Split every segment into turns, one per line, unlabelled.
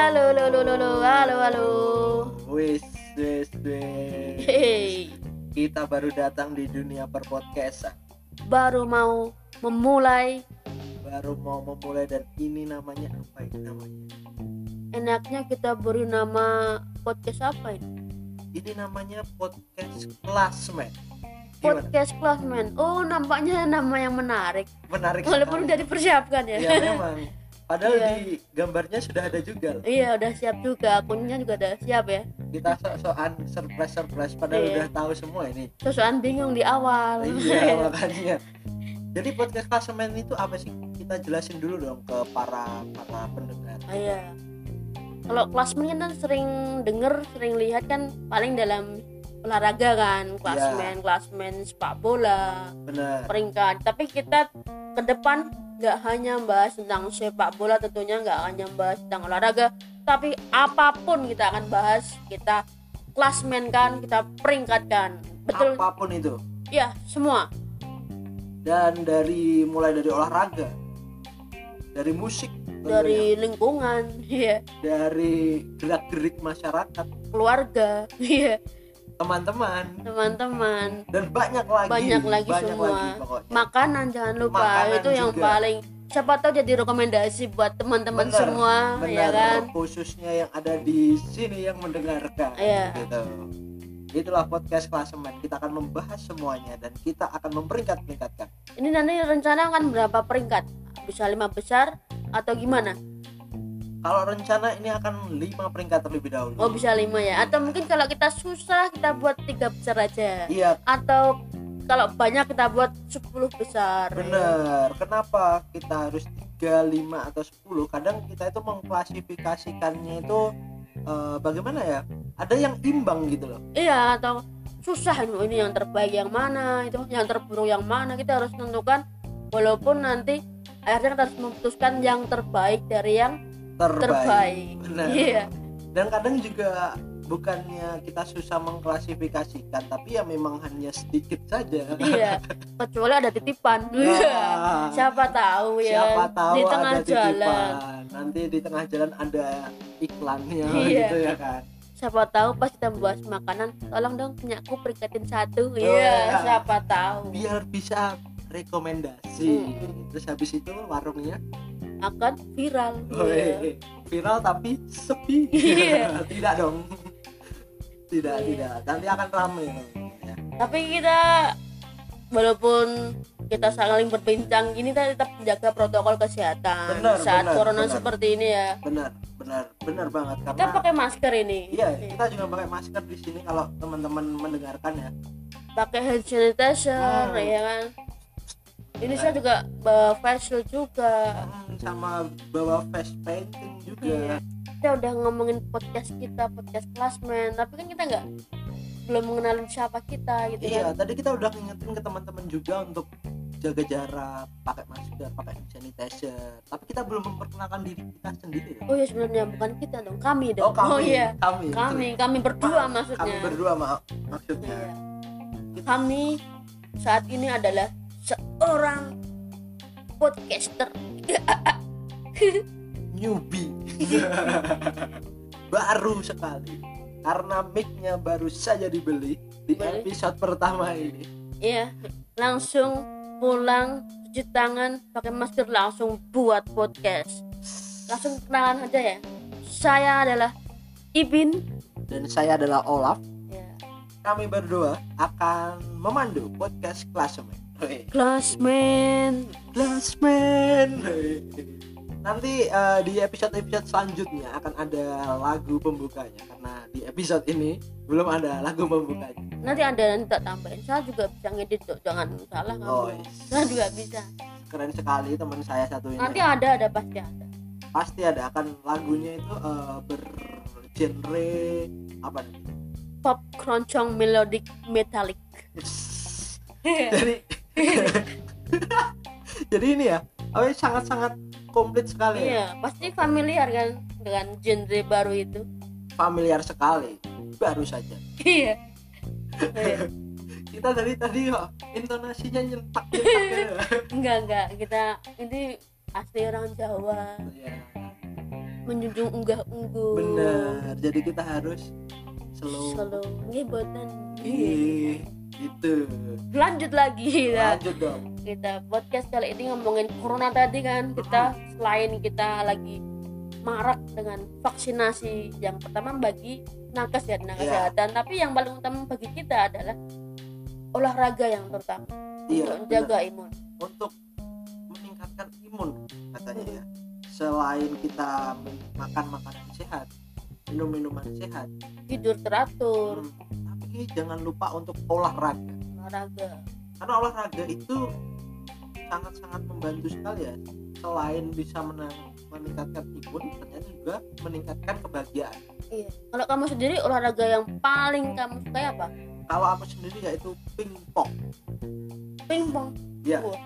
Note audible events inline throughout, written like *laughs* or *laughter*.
halo, halo, halo, halo.
Wis, wis, wis.
*laughs* Hey,
Kita baru datang di dunia perpodcastan.
baru mau memulai
Baru mau memulai dan ini namanya apa ini namanya?
enaknya kita beri nama podcast apa ini?
Ini namanya podcast klasmen. Gimana?
Podcast Classman. Oh, nampaknya nama yang menarik.
Menarik.
Walaupun udah
sekali.
dipersiapkan ya.
Iya, memang. Padahal
Iya.
di gambarnya sudah ada juga. loh.
Iya, udah siap juga. Akunnya juga udah siap ya.
Kita sok-sokan surprise-surprise padahal
Iya.
udah tahu semua ini.
Sosokan bingung di awal. *laughs*
Iya, *laughs* makanya. Jadi podcast klasemen itu apa sih? Kita jelasin dulu dong ke para para pendengar.
Ah, iya. Kalau klasmen kan sering denger, sering lihat kan paling dalam olahraga kan,
Iya.
klasmen, klasmen sepak bola,
Benar.
peringkat. Tapi kita ke depan nggak hanya bahas tentang sepak bola tentunya nggak hanya bahas tentang olahraga, tapi apapun kita akan bahas, kita klasmen kan, kita peringkatkan. Betul?
Apapun itu.
Iya, semua.
Dan dari mulai dari olahraga, dari musik, tentunya,
Dari lingkungan, *laughs* iya,
dari gerak-gerik masyarakat,
keluarga, *laughs* iya,
teman-teman
teman-teman.
dan banyak lagi.
Banyak lagi
banyak
semua.
lagi pokoknya.
makanan jangan lupa
Makanan
itu yang
juga.
paling siapa tahu jadi rekomendasi buat teman-teman
Bener,
semua ya
Benar,
kan
khususnya yang ada di sini yang mendengarkan.
Iya.
Gitu. Itulah podcast klasemen. Kita akan membahas semuanya dan kita akan memperingkat-peringkatkan.
ini nanti rencana akan berapa peringkat bisa lima besar atau gimana
Kalau rencana ini akan lima peringkat terlebih dahulu.
oh bisa lima ya atau mungkin kalau kita susah kita buat tiga besar aja
Iya,
atau kalau banyak kita buat 10 besar
benar. Kenapa kita harus 3, 5 atau 10? Kadang kita itu mengklasifikasikannya itu eh, bagaimana ya? Ada yang imbang gitu loh.
iya atau susah aduh, ini yang terbaik yang mana itu yang terburuk yang mana kita harus tentukan walaupun nanti akhirnya kita harus memutuskan yang terbaik dari yang
Terbaik.
terbaik.
Benar.
Iya,
Dan kadang juga bukannya kita susah mengklasifikasikan, tapi ya memang hanya sedikit saja.
iya. Kecuali ada titipan. Iya.
*laughs* Nah,
*laughs* Siapa tahu ya.
siapa tahu
di tengah
ada
jalan.
titipan. Nanti di tengah jalan ada iklannya
Iya.
gitu ya kan.
Siapa tahu pas kita membahas makanan, tolong dong punya aku peringkatin satu. Iya,
iya.
siapa tahu.
Biar bisa rekomendasi.
Mm.
Terus habis itu warungnya
Akan viral.
Oh,
Iya.
Woi, viral tapi sepi.
Iya.
*laughs* tidak dong. Tidak,
Iya.
tidak. Nanti akan ramai ya.
Tapi kita walaupun kita saling berbincang gini kita tetap menjaga protokol kesehatan
Benar,
saat
benar,
corona
benar.
seperti ini ya.
Benar, benar, benar banget
Kita
karena
pakai masker ini.
Iya, kita juga pakai masker di sini kalau teman-teman mendengarkan ya.
pakai hand sanitizer
Hmm.
ya kan ini saya juga bawa facial juga
Hmm, sama bawa face painting
Iya.
juga.
kita udah ngomongin podcast kita podcast klasmen tapi kan kita nggak belum mengenalin siapa kita gitu
Iya,
kan
tadi kita udah ngingetin ke teman-teman juga untuk jaga jarak, pakai masker, pakai hand sanitizer. Tapi kita belum memperkenalkan diri kita sendiri.
oh ya sebenarnya bukan kita dong kami
Oh,
dong
kami,
iya
kami,
kami kami berdua
sorry. kami
maksudnya
berdua maaf
Iya.
maksudnya. Kita-
kami saat ini adalah seorang podcaster
newbie *laughs* baru sekali karena mic-nya baru saja dibeli di
Baru.
episode pertama ini
Iya, langsung pulang cuci tangan pakai masker langsung buat podcast. Langsung kenalan aja ya. Saya adalah Ibin.
dan saya adalah Olaf
Ya.
kami berdua akan memandu podcast klasemen Hei,
Classman.
klasemen Hei. nanti eh, di episode-episode selanjutnya akan ada lagu pembukanya karena di episode ini belum ada lagu pembukanya
Nanti ada nanti tak tambahin. Saya juga bisa ngedit tuh. Jangan salah kamu.
Oh,
Saya juga bisa.
keren sekali teman saya satu ini
Nanti ada ada pasti ada.
pasti ada akan lagunya itu eh, bergenre apa nih?
Pop keroncong melodic metallic.
jadi *laughs* jadi ini ya oh, sangat sangat komplit sekali ya.
Iya, pasti familiar kan dengan genre baru itu.
familiar sekali baru saja
Iya. Iya.
kita dari tadi kok intonasinya nyentak nyentak gitu.
Enggak enggak kita ini asli orang Jawa.
Ya.
menjunjung unggah ungguh
benar jadi kita harus slow,
selalu ngebotan
Ih, gitu
lanjut lagi ya
Iya. lanjut dong
kita podcast kali ini ngomongin corona tadi kan kita selain kita lagi marak dengan vaksinasi yang pertama bagi nakes ya tenaga
Iya.
kesehatan tapi yang paling utama bagi kita adalah olahraga yang terutama
iya
untuk
benar.
menjaga imun
untuk meningkatkan imun katanya ya selain kita men- makan makanan sehat minum minuman sehat
tidur teratur
hmm, tapi jangan lupa untuk olahraga
olahraga
karena olahraga itu sangat-sangat membantu sekali ya selain bisa menang- meningkatkan imun ternyata juga meningkatkan kebahagiaan
iya kalau kamu sendiri olahraga yang paling kamu sukai apa
kalau aku sendiri yaitu pingpong
pingpong
Iya.
Wah.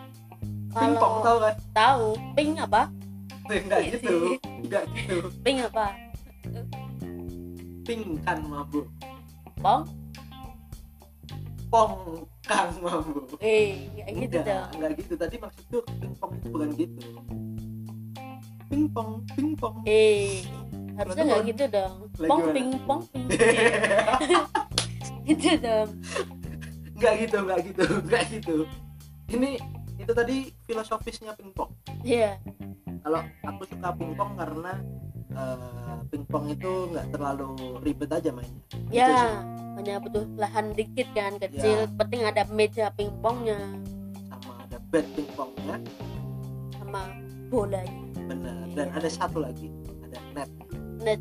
pingpong
kalau
tau kan
tahu ping apa
enggak
Iya
gitu
sih.
enggak gitu
ping apa
ping kan mabuk
pong
pong kan mabuk
eh kayak gitu
enggak
dong
enggak gitu tadi maksudku pingpong itu bukan gitu pingpong pingpong
eh harusnya nggak
Lalu-
gitu dong
Lagi
pong
mana?
ping pong
*laughs*
ping *laughs* gitu dong
*laughs* enggak gitu enggak gitu enggak gitu ini itu tadi filosofisnya pingpong
iya
kalau aku suka pingpong karena eh, pingpong itu nggak terlalu ribet aja mainnya Gitu
ya
sih. Iya.
hanya butuh lahan dikit kan kecil penting ada meja pingpongnya
sama ada bat pingpongnya
sama bolanya
bener dan ada satu lagi ada net
Iya. net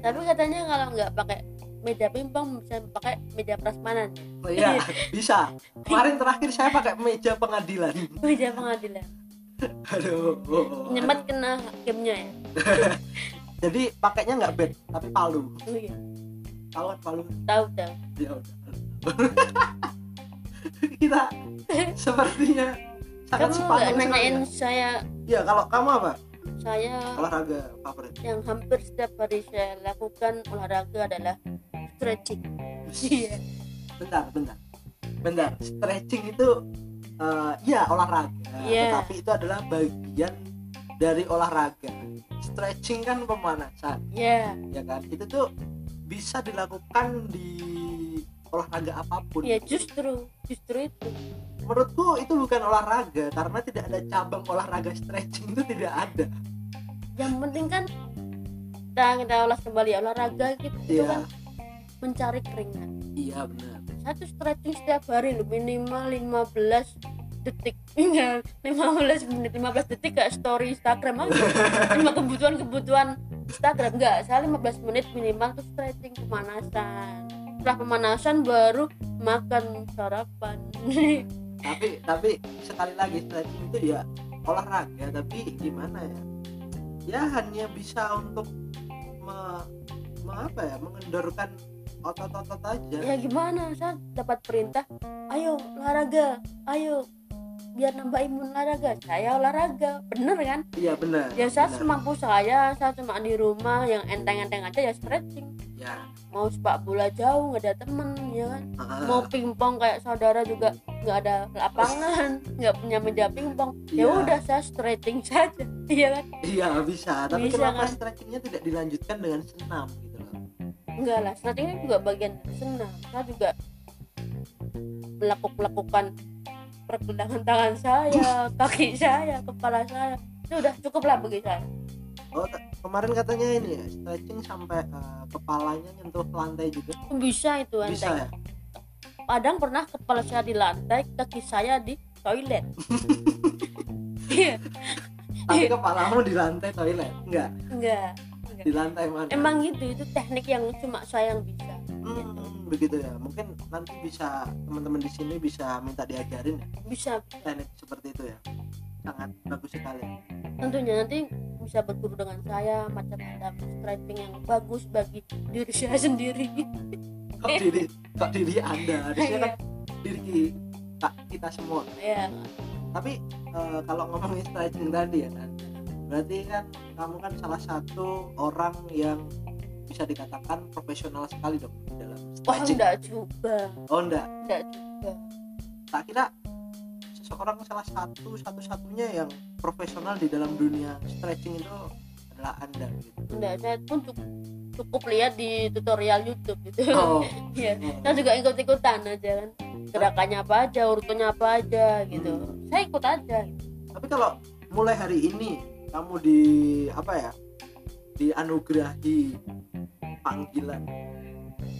tapi katanya kalau nggak pakai meja pingpong bisa pakai meja prasmanan ya?
Oh
*laughs*
iya bisa kemarin terakhir saya pakai meja pengadilan *laughs*
meja pengadilan
aduh
nyemet kena hakimnya ya
jadi pakainya nggak bat tapi palu
oh iya
tahu kan palu
tahu tahu
ya udah *laughs* kita sepertinya sangat
kamu nggak
sepadan
nanyain
sepertinya.
saya
ya kalau kamu apa
saya
olahraga favorit
yang hampir setiap hari saya lakukan olahraga adalah stretching. *laughs* *laughs* Iya.
bentar bentar bentar stretching itu eh, ya olahraga
Iya.
tetapi itu adalah bagian dari olahraga stretching kan pemanasan
Ya,
ya kan itu tuh bisa dilakukan di olahraga apapun
ya justru justru itu.
menurutku itu bukan olahraga karena tidak ada cabang olahraga stretching itu tidak ada
Yang penting kan kita kita ulas kembali olahraga gitu itu
iya
kan mencari keringat.
iya benar
Satu stretching setiap hari loh minimal 15 detik. *laughs* Enggak, 15 menit, 15 detik kayak story Instagram aja. Cuma kebutuhan-kebutuhan Instagram enggak, saya 15 menit minimal tuh stretching pemanasan. Setelah pemanasan baru makan sarapan. *laughs*
tapi tapi sekali lagi stretching itu ya olahraga tapi gimana ya ya hanya bisa untuk me, me- apa ya mengendorkan otot-otot aja
ya gimana saya dapat perintah ayo olahraga ayo biar nambah imun olahraga saya olahraga bener kan
iya benar
ya saya
benar.
semampu saya saya cuma di rumah yang enteng-enteng aja ya stretching
ya
mau sepak bola jauh nggak ada temen ya kan
ah,
mau pingpong kayak saudara juga nggak ada lapangan *laughs* nggak punya meja pingpong ya
Iya.
udah saya stretching *laughs* saja iya kan
iya bisa tapi
Bisa,
kenapa
kan?
stretchingnya tidak dilanjutkan dengan senam gitu loh
enggak lah stretching itu juga bagian dari senam saya juga melakukan melakukan pergelangan tangan
*laughs*
saya kaki saya kepala saya itu udah cukup lah bagi saya
oh t- kemarin katanya ini ya stretching sampai eh, kepalanya nyentuh lantai juga
bisa itu
bisa ya
enteng kadang pernah kepala saya di lantai kaki saya di
*laughs*
toilet iya
tapi kepalamu di lantai toilet enggak
enggak
di lantai mana
emang gitu itu teknik yang cuma saya yang bisa
Hmm, begitu ya. Mungkin nanti bisa teman-teman di sini bisa minta diajarin ya
bisa
teknik seperti itu ya. Sangat bagus sekali.
tentunya nanti bisa berguru dengan saya macam-macam stretching yang bagus bagi diri saya *laughs* sendiri
Kok
Eh.
diri kok diri Anda harusnya kan diri ki- tak- kita semua.
ya
Tapi eh, kalau ngomongin *laughs* stretching tadi ya kan. Berarti kan kamu kan salah satu orang yang bisa dikatakan profesional sekali dong di dalam stretching.
Wah Oh, enggak juga
Oh enggak.
Enggak juga
Tak kira seseorang salah satu satu-satunya yang profesional di dalam dunia stretching itu adalah anda
*laughs*
gitu
enggak saya pun cukup, cukup lihat di tutorial YouTube gitu
oh
Iya. saya juga ikut-ikutan aja kan gerakannya apa aja urutannya apa aja gitu saya ikut aja
tapi kalau mulai hari ini kamu di apa ya dianugerahi panggilan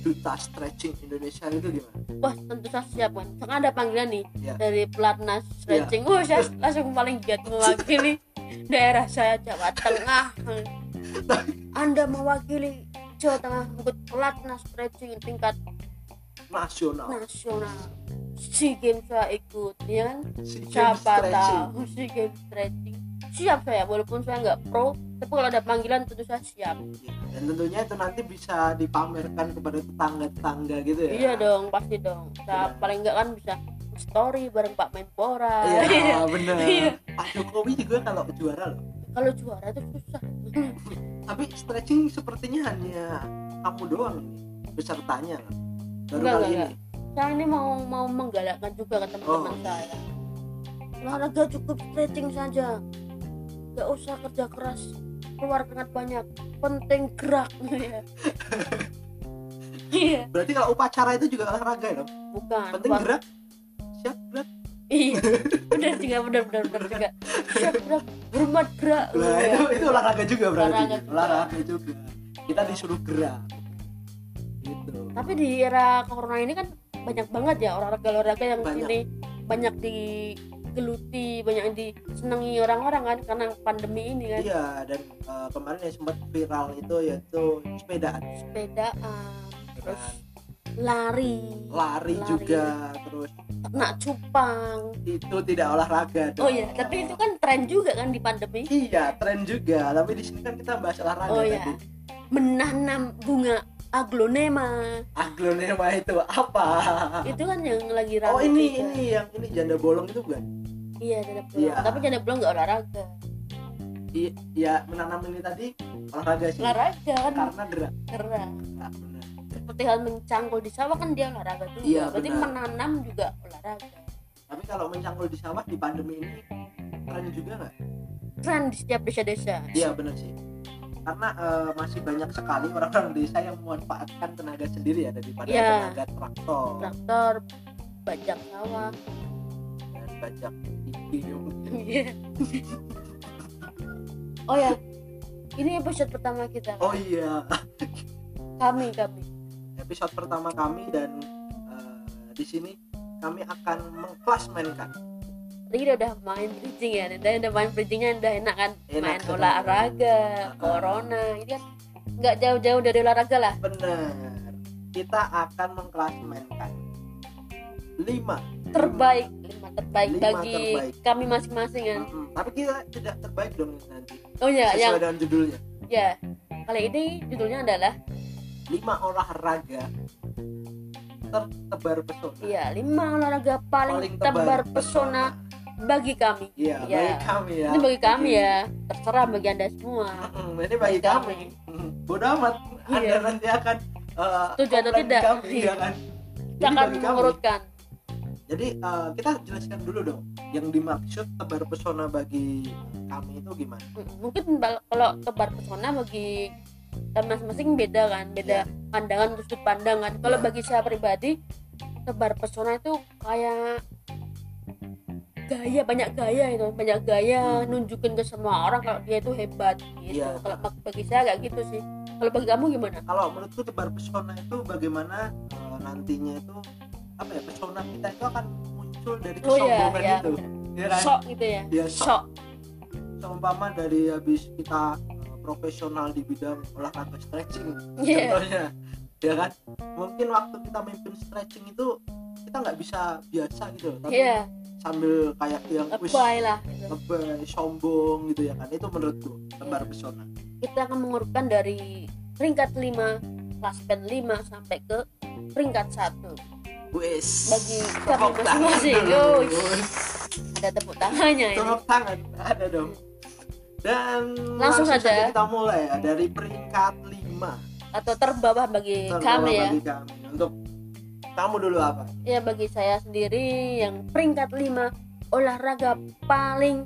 duta stretching Indonesia itu gimana?
wah tentu saya siap kan Misalkan ada panggilan nih
Iya.
dari pelatnas
Ya.
stretching wah saya
*laughs*
langsung paling giat mewakili daerah saya Jawa Tengah anda mewakili Jawa Tengah ikut pelatnas stretching tingkat Hmm.
Nasional.
nasional SEA Games saya ikut ya kan
SEA Games
siapa
stretching.
tahu SEA Games stretching siap saya walaupun saya nggak pro tapi kalau ada panggilan tentu saya siap
Ya, Dan tentunya itu nanti bisa dipamerkan kepada tetangga-tetangga gitu ya.
iya dong pasti dong saya
Iya.
paling nggak kan bisa story bareng Pak Menpora
Iya, bener.
*laughs* Iya.
Pak Jokowi juga kalau juara loh.
kalau juara itu susah *clears throat*
Tapi stretching sepertinya hanya kamu doang ini pesertanya loh. Baru
Enggak,
kali
enggak,
ini.
saya ini mau mau menggalakkan juga ke teman-teman
Oh.
saya olahraga cukup stretching saja nggak usah kerja keras keluar keringat banyak penting gerak *laughs* ya iya
Berarti kalau upacara itu juga olahraga ya dong.
bukan
Penting
Pak.
gerak. Siap gerak.
iya benar juga benar benar benar juga
*laughs*
siap gerak hormat gerak
Lah,
Iya.
itu, itu olahraga juga berarti.
Olahraga juga.
Olahraga juga. Kita disuruh gerak. Gitu.
tapi di era corona ini kan banyak banget ya olahraga-olahraga yang
Banyak.
ini banyak digeluti banyak yang disenangi orang-orang kan karena pandemi ini kan
Iya, dan eh, kemarin yang sempat viral itu yaitu sepedaan.
sepedaan terus
Sepedaan.
lari
Lari,
Lari.
juga terus
nak cupang
itu tidak olahraga.
oh
dong.
iya tapi itu kan tren juga kan di pandemi
Iya, tren juga. Tapi di sini kan kita bahas olahraga
oh iya
tadi.
menanam bunga aglonema
Aglonema itu apa?
itu kan yang lagi ramai
Ah. Oh ini ini yang ini janda bolong itu bukan?
iya janda belum
Iya.
tapi janda belum nggak olahraga
I- Iya menanam ini tadi olahraga sih.
olahraga kan
Karena gerak.
gerak
Nah, benar.
seperti hal mencangkul di sawah kan dia olahraga juga
Iya,
berarti
benar.
menanam juga olahraga
Tapi kalau mencangkul di sawah di pandemi ini tren juga nggak?
tren di setiap desa-desa
Iya benar sih. Karena eh, masih banyak sekali orang-orang desa yang memanfaatkan tenaga sendiri ya daripada
Iya.
tenaga traktor
traktor bajak sawah
dan bajak idiom.
oh ya ini episode pertama kita
Oh iya,
kami kami
episode pertama kami dan eh, di sini kami akan mengklasmenkan
Rida udah main bridging ya Rida udah main bridgingnya udah enak kan
Enak
main
sekali.
olahraga
Ah.
corona ini kan nggak jauh-jauh dari olahraga lah
benar. Kita akan mengklasmenkan lima
terbaik lima terbaik
Lima
bagi
terbaik.
kami masing-masing kan
Mm-mm. Tapi kita tidak terbaik dong nanti
oh ya
sesuai
yang
dengan judulnya.
ya kali ini judulnya adalah
Lima olahraga tertebar pesona.
ya lima olahraga paling,
tebar
tebar pesona bagi kami
Iya,
Iya.
bagi kami ya.
ini bagi kami ya terserah bagi anda semua
Mm, Ini bagi kami. Mm, Bodo amat. Anda
Iya.
nanti akan eh,
Setuju atau
komplain
tidak?
Kami,
Iya.
ya kan?
kita
Jadi
akan
bagi kami.
mengurutkan
Jadi eh, kita jelaskan dulu dong yang dimaksud tebar pesona bagi kami itu gimana?
Mm, mungkin bal- kalau tebar pesona bagi kita masing-masing beda kan beda pandangan sudut pandangan kalau
Iya.
bagi saya pribadi tebar pesona itu kayak gaya banyak gaya itu banyak gaya nunjukin ke semua orang kalau dia itu hebat
Hmm.
gitu
Iya.
kalau bag- bagi saya nggak gitu sih kalau bagi kamu gimana
Kalau menurutku tebar pesona itu bagaimana eh, nantinya itu apa ya pesona kita itu akan muncul dari
oh ya
kesombongan
ya
itu, ya kan?
sok gitu ya
Ya, sok.
sok
Seumpama dari habis kita eh, profesional di bidang olahraga stretching
Iya.
contohnya ya kan mungkin waktu kita mimpin stretching itu kita nggak bisa biasa gitu tapi
iya
sambil kayak yang wis
lebay lah gitu.
lebay sombong gitu ya kan itu menurutku tebar pesona
kita akan mengurutkan dari peringkat 5 klasmen 5 sampai ke peringkat 1
wis
Bagi
tepuk
kami
tangan
masing-masing,
dulu.
yoi. ada tepuk tangannya ini
tepuk tangan ada dong dan
Langsung saja.
kita mulai ya dari peringkat 5
atau terbawah bagi kami ya
bagi kami untuk kamu dulu apa
ya bagi saya sendiri yang peringkat 5 olahraga paling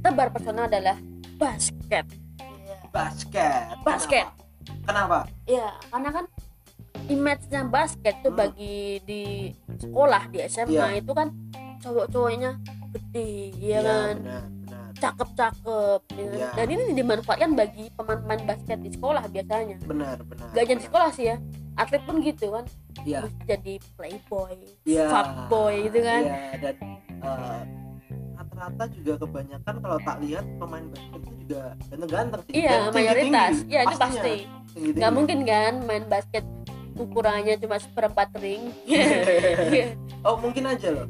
tebar pesona adalah basket Iya,
basket.
Basket.
Kenapa?
ya karena kan image-nya basket tuh
Hmm.
bagi di sekolah di SMA
Iya.
itu kan cowok-cowoknya gede ya
Iya,
kan
Benar, benar.
cakep-cakep ya kan?
Iya.
dan ini dimanfaatkan bagi pemain-pemain basket di sekolah biasanya
Benar, benar.
gak hanya di
benar.
sekolah sih ya atlet pun gitu kan
Iya.
Terus jadi playboy
Iya.
fuckboy gitu kan
Iya, dan eh, rata-rata juga kebanyakan kalau tak lihat pemain basket itu juga ganteng-ganteng sih.
iya
Dan
mayoritas
tinggi-tinggi,
iya itu
pastinya.
pasti
Tinggi-tinggi.
nggak mungkin kan main basket ukurannya cuma seperempat ring
*laughs*
Iya,
*laughs* oh, mungkin aja loh.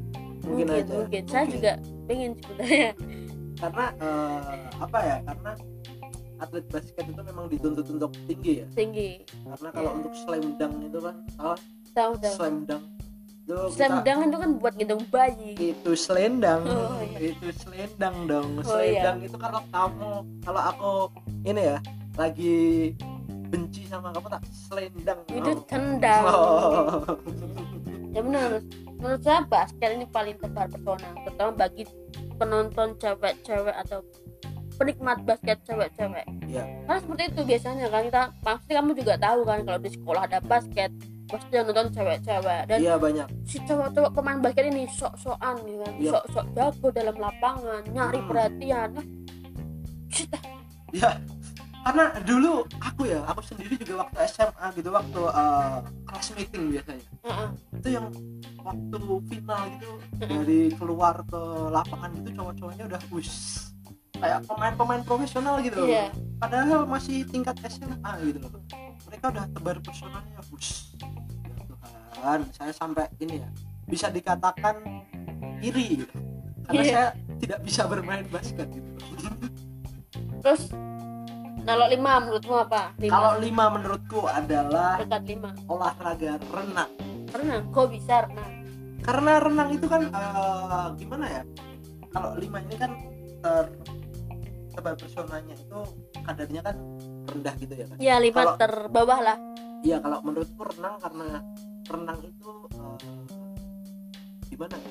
Mungkin,
mungkin
aja.
mungkin saya juga pengen sebenarnya *laughs*
karena eh, apa ya? Karena atlet basket itu memang dituntut untuk tinggi ya.
tinggi
Karena kalau
Iya.
untuk slam dunk itu kan, oh,
tahu tahu
slam dunk itu
Slam
kita-
dunk itu kan buat gendong bayi.
itu selendang
Oh, iya.
itu selendang dong
Oh,
selendang itu kalau kamu kalau aku ini ya lagi benci sama kamu tak selendang
Itu
Oh.
tendang.
*laughs* Oh.
Ya benar. Menurut saya basket ini paling tebar pesona, terutama bagi penonton cewek-cewek atau penikmat basket cewek-cewek.
Iya.
Karena seperti itu biasanya kan kita pasti kamu juga tahu kan kalau di sekolah ada basket pasti yang nonton cewek-cewek dan
iya banyak
si cowok-cowok pemain basket ini sok-sokan gitu kan
Iya.
sok-sok jago dalam lapangan nyari
Hmm.
perhatian nah, shit,
ya karena dulu aku ya aku sendiri juga waktu SMA gitu waktu eh, kelas meeting biasanya
ah, ah.
itu yang waktu final
*laughs*
gitu dari keluar ke lapangan itu cowok-cowoknya udah wis kayak pemain-pemain profesional gitu loh.
iya
padahal masih tingkat SMA gitu loh mereka udah tebar pesonanya bus ya Tuhan saya sampai ini ya bisa dikatakan iri gitu. karena
Iya.
saya tidak bisa bermain basket gitu
terus kalau lima menurutmu apa lima
kalau lima menurutku adalah
dekat lima
olahraga renang
renang kok bisa renang
karena renang itu kan eh, gimana ya kalau lima ini kan ter tebar pesonanya itu kadarnya kan rendah gitu ya kan
ya lima
Kalau-
terbawah lah
Iya
Hmm.
kalau menurutku renang karena renang itu eh, gimana ya?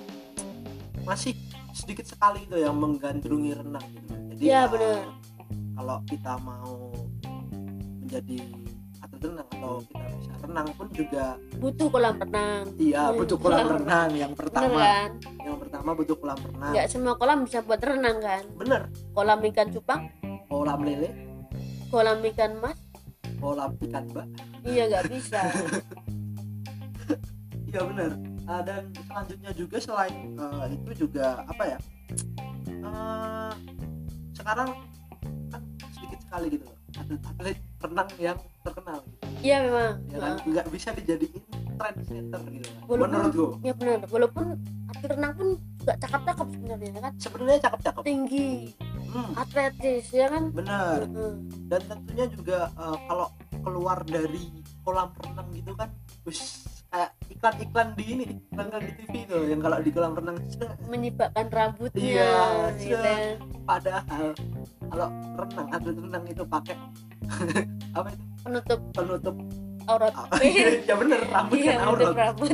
masih sedikit sekali itu yang menggandrungi renang gitu. Jadi
Iya,
eh,
benar.
kalau kita mau menjadi atlet renang atau kita bisa renang pun juga
butuh kolam renang
iya
Hmm.
butuh
*laughs*
kolam renang yang
bener Ya.
pertama
kan
yang pertama butuh kolam renang
nggak semua kolam bisa buat renang kan
bener
kolam ikan cupang
kolam lele
kolam ikan mas
kolam ikan bak
iya nggak
*laughs*
bisa
Iya benar. Ah, dan selanjutnya juga selain eh, itu juga apa ya? Eh, sekarang kan sedikit sekali gitu loh atlet, atlet renang yang terkenal gitu,
iya memang
ya kan
Nah,
nggak bisa dijadiin trend center gitu kan.
Walaupun-
menurut gue
iya benar walaupun atlet renang pun nggak cakep-cakep sebenarnya kan
sebenarnya cakep-cakep
tinggi
hmm,
atletis ya kan
benar
Heeh.
dan tentunya juga eh, kalau keluar dari kolam renang gitu kan wis, kayak iklan-iklan di ini iklan-iklan di TV itu yang kalau di kolam renang sedang
menyibakkan rambutnya
Iya,
gitu
sudah.
kan.
padahal kalau renang atlet renang itu pakai *laughs* apa itu
penutup
penutup
aurat
apa ya bener rambut
*laughs* iya
kan
penutup
aurat Iya.
rambut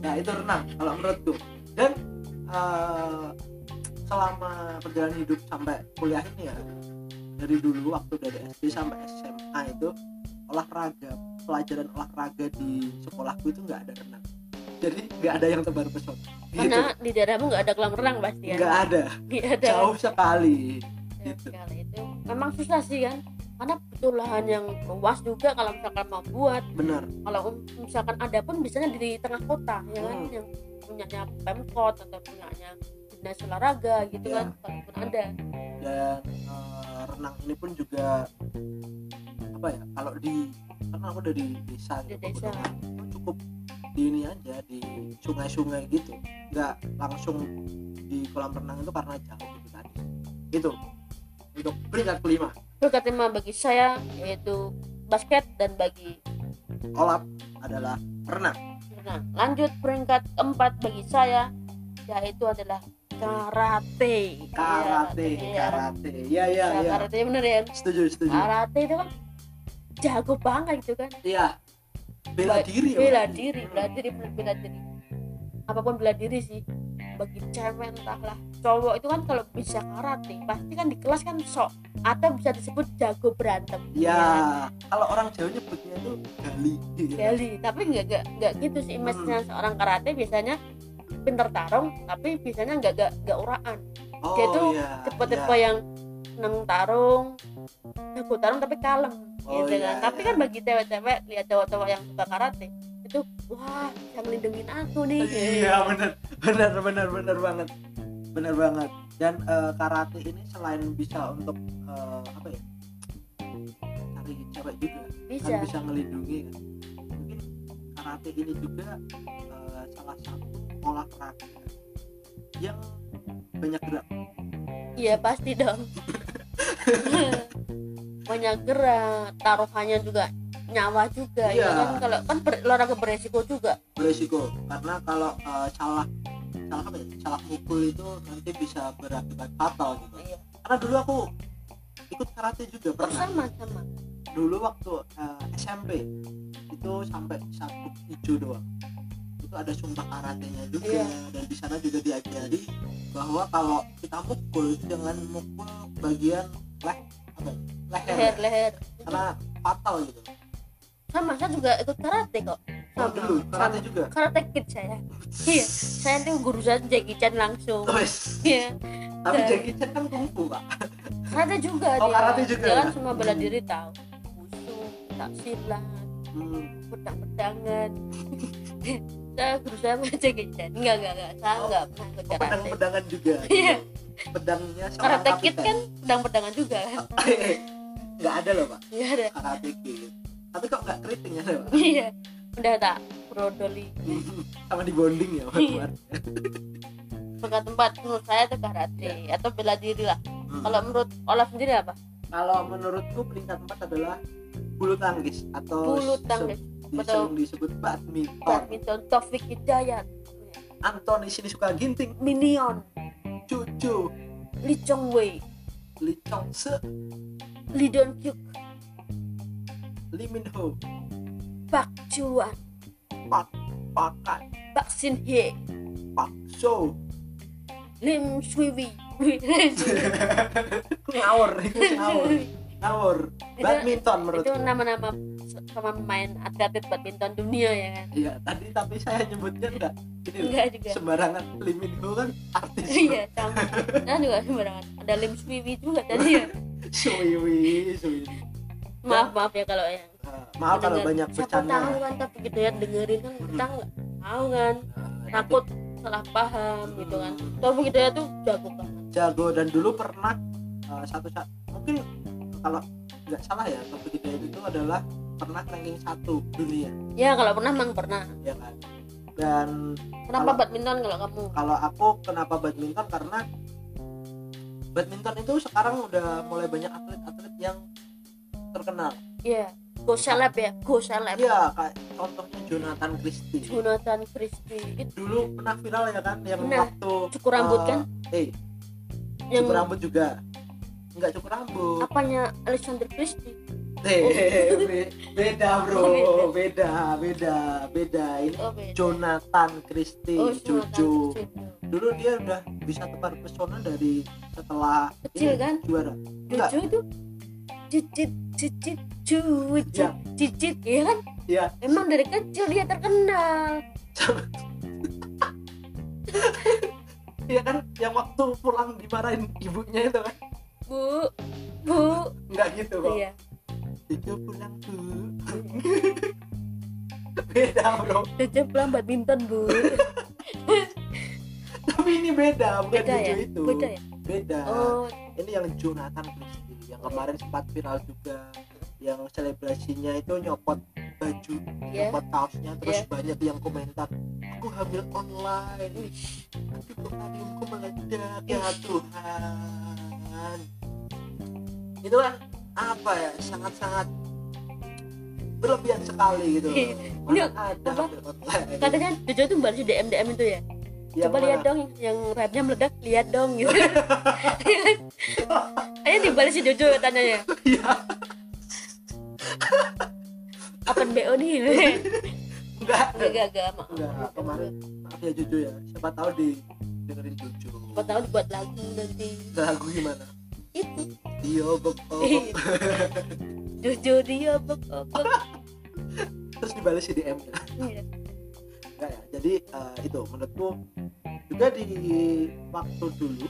nah itu renang kalau menurutku dan eh, selama perjalanan hidup sampai kuliah ini ya dari dulu waktu dari SD sampai SMA itu olahraga pelajaran olahraga di sekolahku itu nggak ada renang jadi nggak ada yang tebar pesona gitu
karena di daerahmu nggak ada kolam renang pasti ya
nggak ada
nggak ada
jauh sekali
Ya,
gitu.
sekali itu memang susah sih kan karena butuh lahan yang luas juga kalau misalkan mau buat
bener
kalau um- misalkan ada pun biasanya di tengah kota ya kan
Hmm.
yang punyanya pemkot atau punyanya dinas olahraga gitu
Iya.
kan kalaupun ada
dan eh, renang ini pun juga apa ya kalau di karena aku dari desa
Dari
gitu,
desa.
pegunungan, itu cukup di ini aja di sungai-sungai gitu nggak langsung di kolam renang itu karena jauh gitu tadi gitu untuk peringkat kelima
berkat tema bagi saya yaitu basket dan bagi
olap adalah renang
renang lanjut peringkat keempat bagi saya yaitu adalah karate
karate
Iya,
karate ya ya
karate,
ya
karate bener ya
setuju setuju
karate itu kan jago banget gitu kan
iya bela diri
bela
Bang.
diri bela diri bener bela diri apapun bela diri sih bagi cewek entahlah cowok itu kan kalau bisa karate pasti kan di kelas kan sok atau bisa disebut jago berantem
ya kalau orang Jawa nyebutnya itu gali gitu ya.
gali tapi nggak nggak nggak gitu sih
Hmm.
image-nya seorang karate biasanya pinter tarung tapi biasanya nggak nggak nggak uraan
oh,
dia tuh
iya,
tipe-tipe
iya.
yang seneng tarung jago tarung tapi kalem
Oh,
gitu
iya,
kan tapi
iya.
kan bagi cewek-cewek lihat cowok-cowok yang suka karate itu wah bisa ngelindungin aku nih
iya benar benar benar benar banget benar banget dan eh, karate ini selain bisa untuk eh, apa ya cari cewek juga
bisa
kan bisa melindungi kan mungkin karate ini juga eh, salah satu olahraga yang banyak gerak
iya pasti
*laughs*
dong banyak gerak taruhannya juga nyawa juga ya
Iya.
kan kalau kan ber- olahraga beresiko juga
beresiko karena kalau eh, salah salah apa ya salah mukul itu nanti bisa berakibat fatal gitu
iya.
karena dulu aku ikut karate juga
Oh,
pernah
sama sama
dulu waktu eh, SMP itu sampai sabuk hijau doang itu ada sumpah karatenya juga
Iya.
dan di sana juga diajari bahwa kalau kita mukul jangan mukul bagian leh apa ya? leher,
leher leher
karena fatal gitu
sama saya juga ikut karate kok
oh,
sama
dulu karate
sama.
juga
karate kid saya Iya, saya tuh guru saya Jackie Chan langsung
Wes.
iya
tapi
Dan-
Jackie Chan kan kungfu pak
karate juga
Oh,
dia
karate juga.
dia kan semua bela
Hmm.
diri tahu musuh tak silat
Hmm.
pedang pedangan *laughs* saya guru saya mah Jackie Chan enggak enggak enggak saya
Oh.
enggak pernah ikut
Oh, pedang
karate
pedangan juga
Iya.
pedangnya seorang
karate kid
kapitan.
kan pedang pedangan juga kan *laughs*
*laughs* nggak ada loh pak
iya ada
karate kid tapi kok nggak keriting ya pak Hmm,
iya udah tak brodoli
sama di bonding ya Pak
Iya. bukan tempat menurut saya itu karate atau bela diri lah kalau menurut Olaf sendiri apa
Hmm. kalau menurutku peringkat empat adalah bulu tangkis atau
bulu tangkis
se- di-
atau-
sering disebut badminton.
badminton gitu. Taufik Hidayat
Anthony sini suka ginting,
Minion
cucu,
Lee Chong Wei
Lee Chong Se,
Lee Don Kyuk
Lee Min Ho,
Park Juan
Pak Pakan,
Park Shin Hye
Pak So.
Lim Shui Wei
ngawur, itu ngawur, ngawur. *laughs* Badminton menurut.
itu nama-nama se- pemain atlet badminton dunia ya kan
Iya, tadi tapi saya nyebutnya enggak. Ini loh,
enggak juga
sembarangan Lee Min Ho kan artis.
iya sama nah juga sembarangan ada Lim Shui Wei juga tadi ya
Suwi, suwi.
maaf maaf ya kalau yang
Eh, maaf kalau
mendengar.
banyak
siapa
bercanda.
tahu kan tapi gitu ya dengerin kan kita nggak tahu kan
Eh,
takut salah paham gitu kan Tapi gitu ya tuh jago banget
jago dan dulu pernah eh, satu saat mungkin kalau nggak salah ya Taufik Hidayat itu adalah pernah ranking satu dunia
ya kalau pernah mang pernah
ya kan dan
kenapa
Kalau-
badminton kalau kamu
kalau aku kenapa badminton karena badminton itu sekarang udah mulai banyak atlet-atlet yang terkenal
ya go seleb ya go seleb
iya kayak contohnya Jonathan Christie
Jonathan Christie itu
dulu pernah viral ya kan yang
Benar.
waktu
cukur rambut
eh,
kan
eh
yang
cukur rambut juga nggak cukur rambut
apanya Alexander Christie Oh, iya,
Eh, be- beda bro, beda, beda, beda. Ini
oh beda
Jonathan Christie,
oh
Jojo.
Jonathan Christie.
Dulu dia udah bisa tebar pesona dari setelah
Kecil
ini,
kan?
juara. Enggak,
Jojo itu cicit cicit cucu
Ya.
cicit ya kan
ya
emang dari kecil dia terkenal
iya kan yang waktu pulang dimarahin ibunya itu kan
bu bu
nggak gitu kok.
iya
Jojo pulang tuh. *laughs* beda bro,
Jojo pulang badminton bu
*laughs* tapi ini beda, bukan
beda
Jojo
ya
itu.
beda ya
Beda.
oh
ini yang Jonathan Christie yang kemarin sempat viral juga yang selebrasinya itu nyopot baju
ya
nyopot kaosnya terus
Iya.
banyak yang komentar aku hamil online tapi kemarinku meledak ya Tuhan itu kan apa ya sangat-sangat berlebihan sekali gitu
Iya.
mana
*laughs* Ini
ada
apa?
hamil online
katanya Jojo tuh baru di DM DM itu ya
Yang
coba
mana? *laughs*
lihat dong yang rapnya meledak lihat dong gitu *laughs* ayo dibalas si Jojo tanyanya
Iya.
open BO *laughs* nih
enggak
enggak enggak maaf
enggak kemarin maaf ya Jojo ya siapa tahu di dengerin Jojo
siapa tahu dibuat lagu nanti
lagu gimana
itu
dia bekok
*laughs* Ih. jujur dia bekok-bekok
terus dibalas di DM
Iya.
Enggak ya. Jadi eh, itu menurutku juga di waktu dulu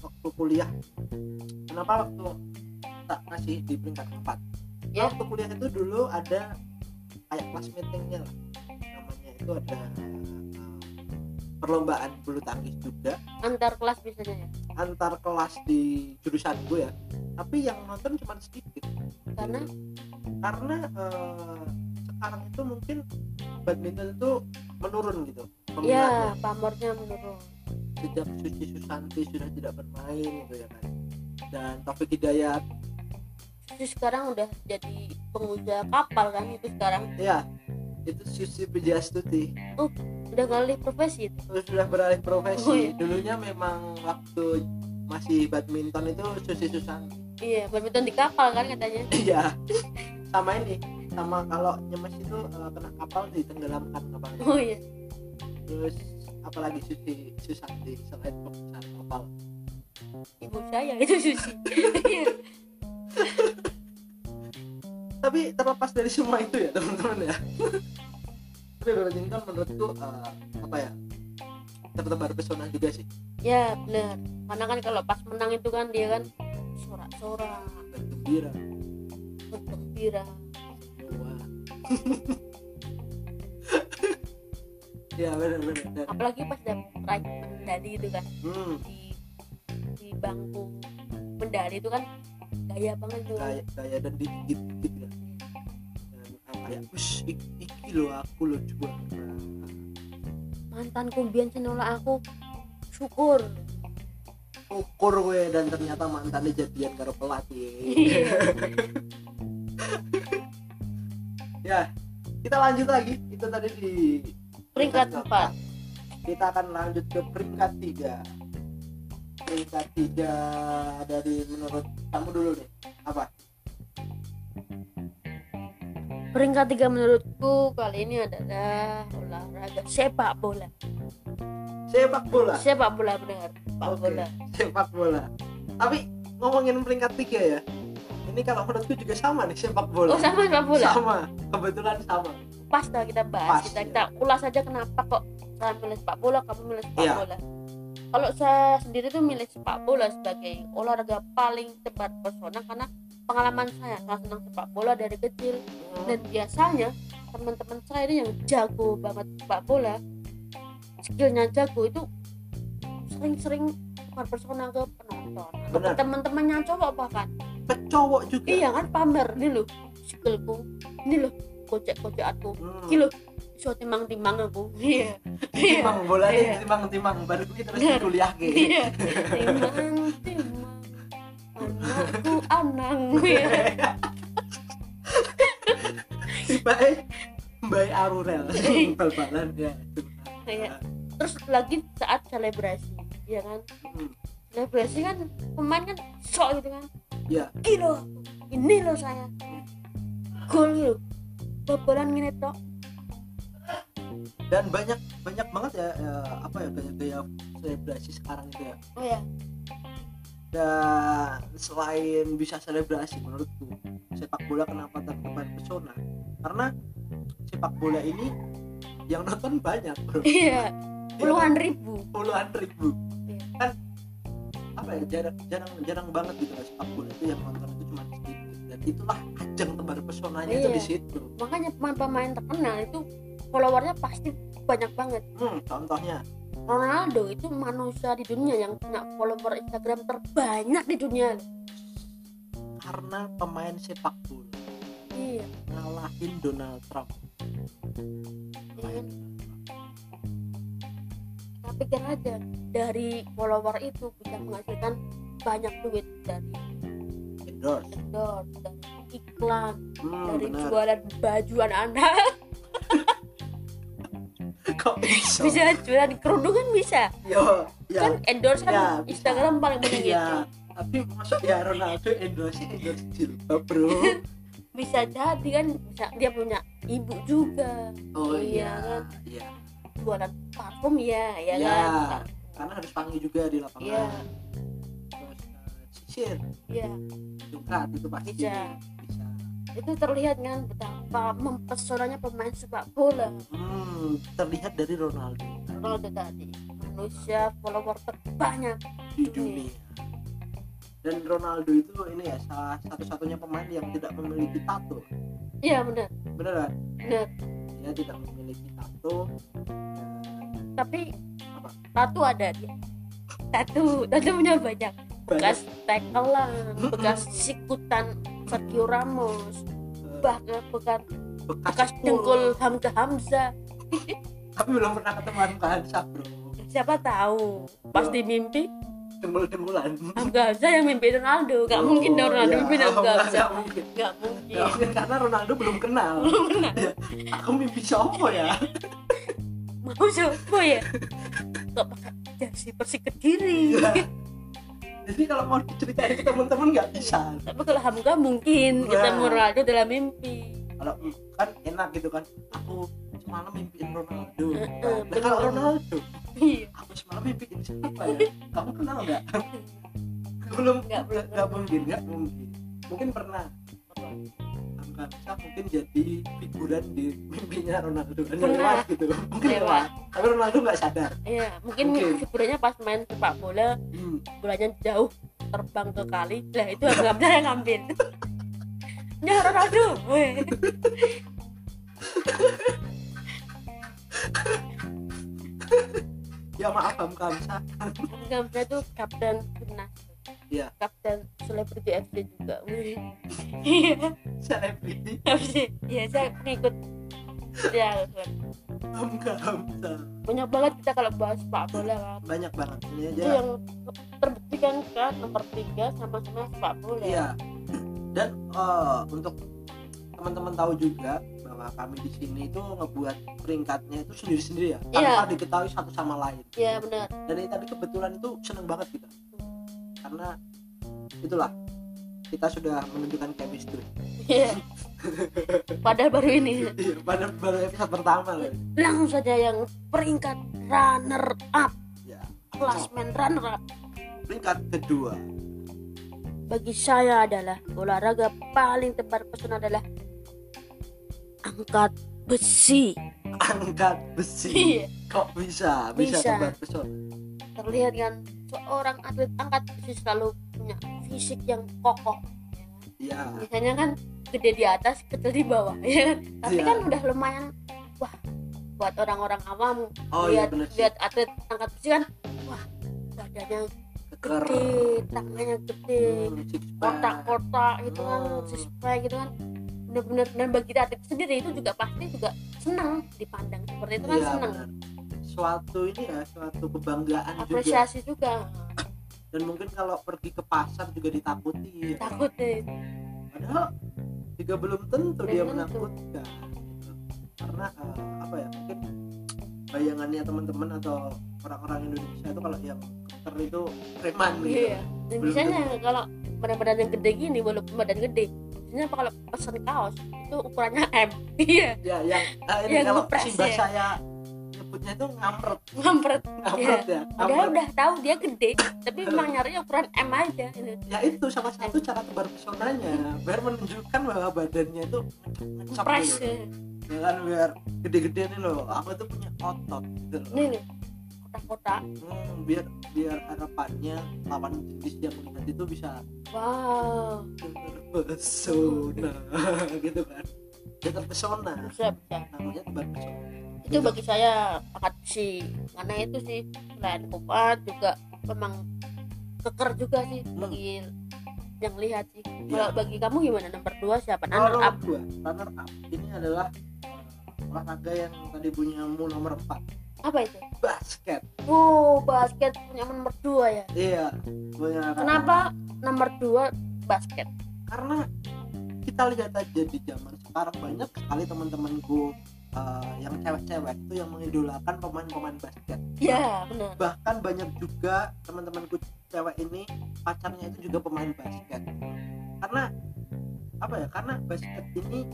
waktu kuliah kenapa waktu tak masih di peringkat empat?
Ya.
Karena Waktu kuliah itu dulu ada kayak kelas meetingnya lah namanya itu ada eh, perlombaan bulu tangkis juga
antar kelas biasanya ya
antar kelas di jurusan gue ya tapi yang nonton cuma sedikit
karena
karena eh, sekarang itu mungkin badminton itu menurun gitu peminatnya.
ya pamornya menurun
sejak Suci Susanti sudah tidak bermain gitu ya kan dan Taufik Hidayat
itu sekarang udah jadi pengusaha kapal kan itu sekarang
ya itu Susi Pujastuti
udah ngalih profesi itu
Terus sudah beralih
Oh,
profesi
iya.
dulunya memang waktu masih badminton itu Susi Susanti *clears throat*
iya badminton di kapal kan katanya
iya sama ini sama kalau nyemes itu eh, kena kapal ditenggelamkan kapalnya
oh iya
terus apalagi Susi Susanti selain pembesaran kapal
ibu saya itu Iya. susi
tapi terlepas dari semua itu ya teman-teman ya *laughs* tapi badminton menurutku eh, apa ya tertebar pesona juga sih
ya benar karena kan kalau pas menang itu kan dia kan sorak-sorak
dan gembira
bergembira
semua *laughs* ya benar-benar dan
apalagi pas dapat meraih medali itu kan
hmm,
di di bangku medali itu kan gaya banget tuh
kayak kayak dan digigit gitu ya dan ah, kayak ush ik- iki lo aku lo juara
mantanku biar nolak aku syukur
ukur gue dan ternyata mantannya jadian karo pelatih
iya
ya kita lanjut lagi itu tadi di
*laughs* Peringkat empat.
kita akan lanjut ke peringkat tiga peringkat tiga dari menurut kamu dulu nih apa
peringkat tiga menurutku kali ini adalah olahraga sepak bola
sepak bola
sepak bola benar sepak
Oke,
bola
sepak bola tapi ngomongin peringkat tiga ya ini kalau menurutku juga sama nih sepak bola
oh sama sepak bola
sama kebetulan sama
pas lah kita
Pas,
bahas kita
ya.
kita ulas aja kenapa kok saya milih sepak bola kamu milih sepak
Iya.
bola kalau saya sendiri tuh milih sepak bola sebagai olahraga paling tepat pesona karena pengalaman saya saya senang sepak bola dari kecil dan
Eh,
biasanya teman-teman saya ini yang jago banget sepak bola skillnya jago itu sering-sering tukar persona ke penonton atau ke
Benar.
teman-temannya cowok bahkan
Ke cowok juga
iya kan pamer ini loh skillku ini loh kocek-kocek aku
Hmm.
Iki lho, iso timang-timang aku. Iya. Iya.
timang bola nih
Iya.
timang timang baru kita terus di kuliah gitu
Iya. Timang-timang. Anakku anang. Iya.
baik baik Arurel E bal-balan ya
Iya. Terus lagi saat selebrasi, ya kan?
Hmm.
Selebrasi kan pemain kan sok gitu kan.
Iya.
Iki lho, ini loh saya. Gol gitu. Bobolan ngene tok.
dan banyak banyak banget ya, ya, apa ya gaya-gaya selebrasi sekarang itu ya
Oh ya,
dan selain bisa selebrasi menurutku sepak bola kenapa terdepan pesona karena sepak bola ini yang nonton banyak bro
iya, puluhan ribu.
puluhan ribu
Iya.
kan apa ya jarang jarang jarang banget gitu lah sepak bola itu yang nonton itu cuma sedikit dan itulah ajang tebar pesonanya itu
Iya.
di situ
Makanya pemain-pemain terkenal itu followernya pasti banyak banget.
hmm, contohnya
Ronaldo itu manusia di dunia yang punya follower Instagram terbanyak di dunia.
karena pemain sepak bola
Iya,
ngalahin Donald Trump Hmm.
iya kan? Kita pikir aja dari follower itu bisa menghasilkan banyak duit dari
endorse
endorse, dari iklan,
hmm,
dari
benar
jualan baju anak-anak, *laughs*
kok bisa,
bisa jualan kerudung kan bisa.
yo ya
Kan endorse kan
Ya, bisa.
Instagram paling ya. penting itu.
Iya, tapi masuk ya Ronaldo endorse endorse jilbab bro.
*laughs* Bisa jadi kan bisa dia punya ibu juga
Oh
Iya,
iya, iya.
jualan parfum ya, ya,
Iya.
kan.
Karena harus panggil juga di lapangan.
Iya.
Terus, eh, si disisir
Iya,
juga itu pasti
Bisa.
bisa.
itu terlihat kan betapa mempesonanya pemain sepak bola
Hmm, terlihat dari Ronaldo
Ronaldo tadi manusia follower terbanyak
di
Iya.
dunia. Dan Ronaldo itu ini ya salah satu-satunya pemain yang tidak memiliki tato.
iya benar
Bener kan?
benar
Dia tidak memiliki tato.
tapi
Apa?
tato ada dia tato tato punya banyak
Banyak,
bekas tekelan bekas sikutan Sergio Ramos
eh,
bahkan bekas
bekas,
bekas
pul.
dengkul Hamzah Hamzah
Tapi belum pernah ketemu Hamka Hansa, bro.
siapa tahu pasti mimpi
Dengkul-dengkulan.
Hamzah Hamzah yang mimpi Ronaldo nggak
Oh,
mungkin dong Ronaldo
ya,
mimpi Hamzah
nggak
Hamzah
mungkin.
nggak
Nggak
mungkin
Ya, mungkin, karena Ronaldo belum kenal. Ya, aku mimpi siapa ya?
mau siapa ya kok pakai jersey Persik Kediri
Iya. Jadi kalau mau diceritain ke teman-teman nggak bisa.
tapi kalau Hamka mungkin kita
Nah.
Ronaldo dalam mimpi
Kalau kan enak gitu kan. Aku semalam mimpiin Ronaldo.
Heeh,
Nah, kalau
bener.
Ronaldo,
iya
aku semalam mimpiin siapa ya? Kamu kenal nggak? belum
Nggak,
nggak
belum.
nggak mungkin nggak mungkin. Mungkin pernah. Angkat bisa mungkin jadi figuran di mimpinya Ronaldo Hanya
Pernah.
lewat gitu mungkin
Lewat.
lewat tapi Ronaldo nggak sadar
iya mungkin
Mungkin.
hiburannya pas main sepak bola
Hmm.
bolanya jauh terbang ke kali lah itu Hamka yang ngambil *laughs* ya Ronaldo weh
ya maaf Bang Kamsa
Hamka Hamzah itu kapten timnas
Iya.
kapten selebriti FC juga weh iya
selebriti
FC iya saya ngikut ya
Bang Kamsa
banyak banget kita kalau bahas sepak bola kan
banyak banget ini aja
itu yang terbuktikan kan nomor tiga sama-sama sepak bola
Iya. Dan eh, untuk teman-teman tahu juga bahwa kami di sini itu ngebuat peringkatnya itu sendiri-sendiri ya, tanpa diketahui satu sama lain.
Iya, benar
Dan ini tadi kebetulan itu seneng banget kita, karena itulah kita sudah menunjukkan chemistry.
Iya. padahal baru ini
Iya, Pada baru episode pertama loh.
langsung saja yang peringkat runner up
Ya.
klasmen runner up
Peringkat kedua.
bagi saya adalah olahraga paling tepat pesona adalah angkat besi
angkat besi
iya
kok bisa bisa,
Bisa.
tempat pesona.
terlihat kan seorang atlet angkat besi selalu punya fisik yang kokoh
ya
misalnya kan gede di atas kecil di bawah ya kan? tapi
Iya.
kan udah lumayan wah buat orang-orang awam
oh iya
lihat
benar sih
lihat atlet angkat besi kan wah badannya
Keker.
gede tangannya gede
Hmm, six pack.
kotak-kotak gitu kan
Hmm.
sesuai gitu kan bener-bener dan bagi atlet sendiri itu juga pasti juga senang dipandang seperti itu kan
Iya,
senang
benar. suatu ini ya suatu kebanggaan juga
apresiasi juga
dan mungkin kalau pergi ke pasar juga ditakuti ya.
takut deh
padahal juga belum tentu dia
Belum tentu.
menakutkan gitu. karena eh, apa ya mungkin bayangannya teman-teman atau orang-orang Indonesia itu kalau yang keker itu preman gitu
iya dan biasanya kalau badan-badan yang gede gini walaupun badan gede biasanya apa kalau pesen kaos itu ukurannya M *laughs* iya
ya yang eh, ini
Yang
kalau
ngepres
simbah
ya.
saya nyebutnya itu ngampret
ngampret
ngampret ya
padahal
ngampret
udah tahu dia gede tapi emang nyari ukuran M aja gitu.
ya itu salah satu cara tebar pesonanya biar menunjukkan bahwa badannya itu ngecap
Ngepres
gitu.
ya.
ya kan biar gede-gede nih loh aku tuh punya otot gitu loh
ini nih kotak-kotak
Hmm, biar biar harapannya lawan jenis yang melihat itu bisa
wow
terpesona *laughs* gitu kan dia terpesona
bisa bisa
namanya tebar pesona
itu bagi saya angkat besi karena itu sih selain kuat juga memang keker juga sih bagi yang lihat sih kalau
Iya.
bagi kamu gimana nomor dua siapa runner
runner up
up
dua runner up ini adalah eh, olahraga yang tadi bunyamu nomor 4
apa itu
basket
wow basket punya nomor dua ya
iya punya
kenapa nomor dua basket
karena kita lihat aja di zaman sekarang banyak sekali teman-temanku eh, yang cewek-cewek itu yang mengidolakan pemain-pemain basket
ya benar
bahkan banyak juga teman-temanku cewek ini pacarnya itu juga pemain basket karena apa ya karena basket ini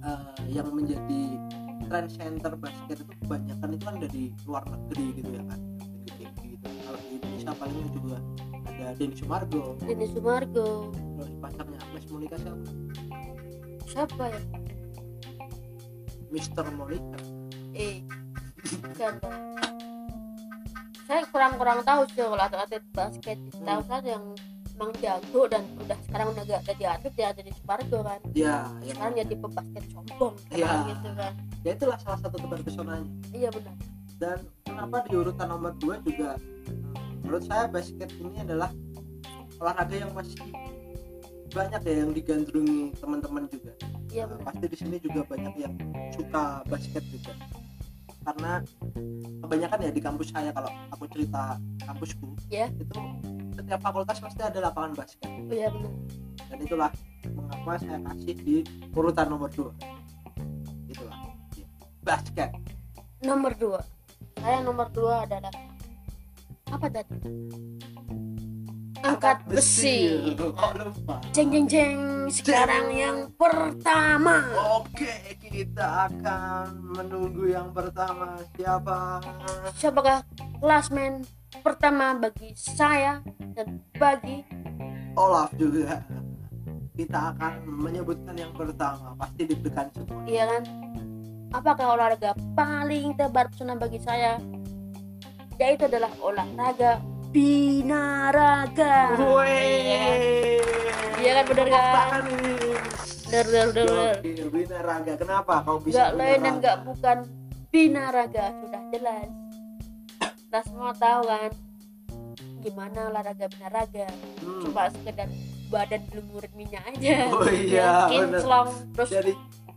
eh, yang menjadi trend center basket itu kebanyakan itu kan dari luar negeri gitu ya kan negeri gitu kalau di Indonesia paling juga ada ada Denny Sumargo
Denny Sumargo
terus pacarnya Agnes Monica siapa
siapa ya
Mister Monica
eh jangan Bang. saya kurang-kurang tahu sih kalau atlet-atlet basket tahu
Hmm.
saja yang emang jago dan udah sekarang udah gak jadi atlet ya jadi Supargo kan
ya ya
sekarang jadi pebasket sombong
Iya.
kan gitu kan
ya itulah salah satu tebar pesonanya
iya benar
dan kenapa di urutan nomor 2 juga menurut saya basket ini adalah olahraga yang masih banyak ya yang digandrungi teman-teman juga
iya
Nah,
benar
pasti di sini juga banyak yang suka basket juga karena kebanyakan ya di kampus saya kalau aku cerita kampusku
Iya.
itu setiap fakultas pasti ada lapangan basket
iya benar
dan itulah mengapa saya kasih di urutan nomor 2 itulah iya. basket
nomor dua saya nomor dua adalah apa tadi angkat besi
kok lupa
jeng jeng jeng sekarang yang pertama
Oke, kita akan menunggu yang pertama siapa?
siapakah klasmen pertama bagi saya dan bagi
Olaf juga. Kita akan menyebutkan yang pertama, pasti diberikan semua.
iya kan apakah olahraga paling tebar pesona bagi saya yaitu adalah olahraga binaraga kan?
Wih.
Iya kan, bener kan?
Apaan ini?
Bener, bener, bener, bener.
Oke, Binaraga. iya, Kenapa kau
gak
bisa
lain dan
binaraga?
gak bukan binaraga sudah jelas kita semua tahu kan gimana olahraga binaraga
Hmm.
cuma sekedar badan berlumurin minyak aja
Oh iya, bener.
kinclong terus
Jadi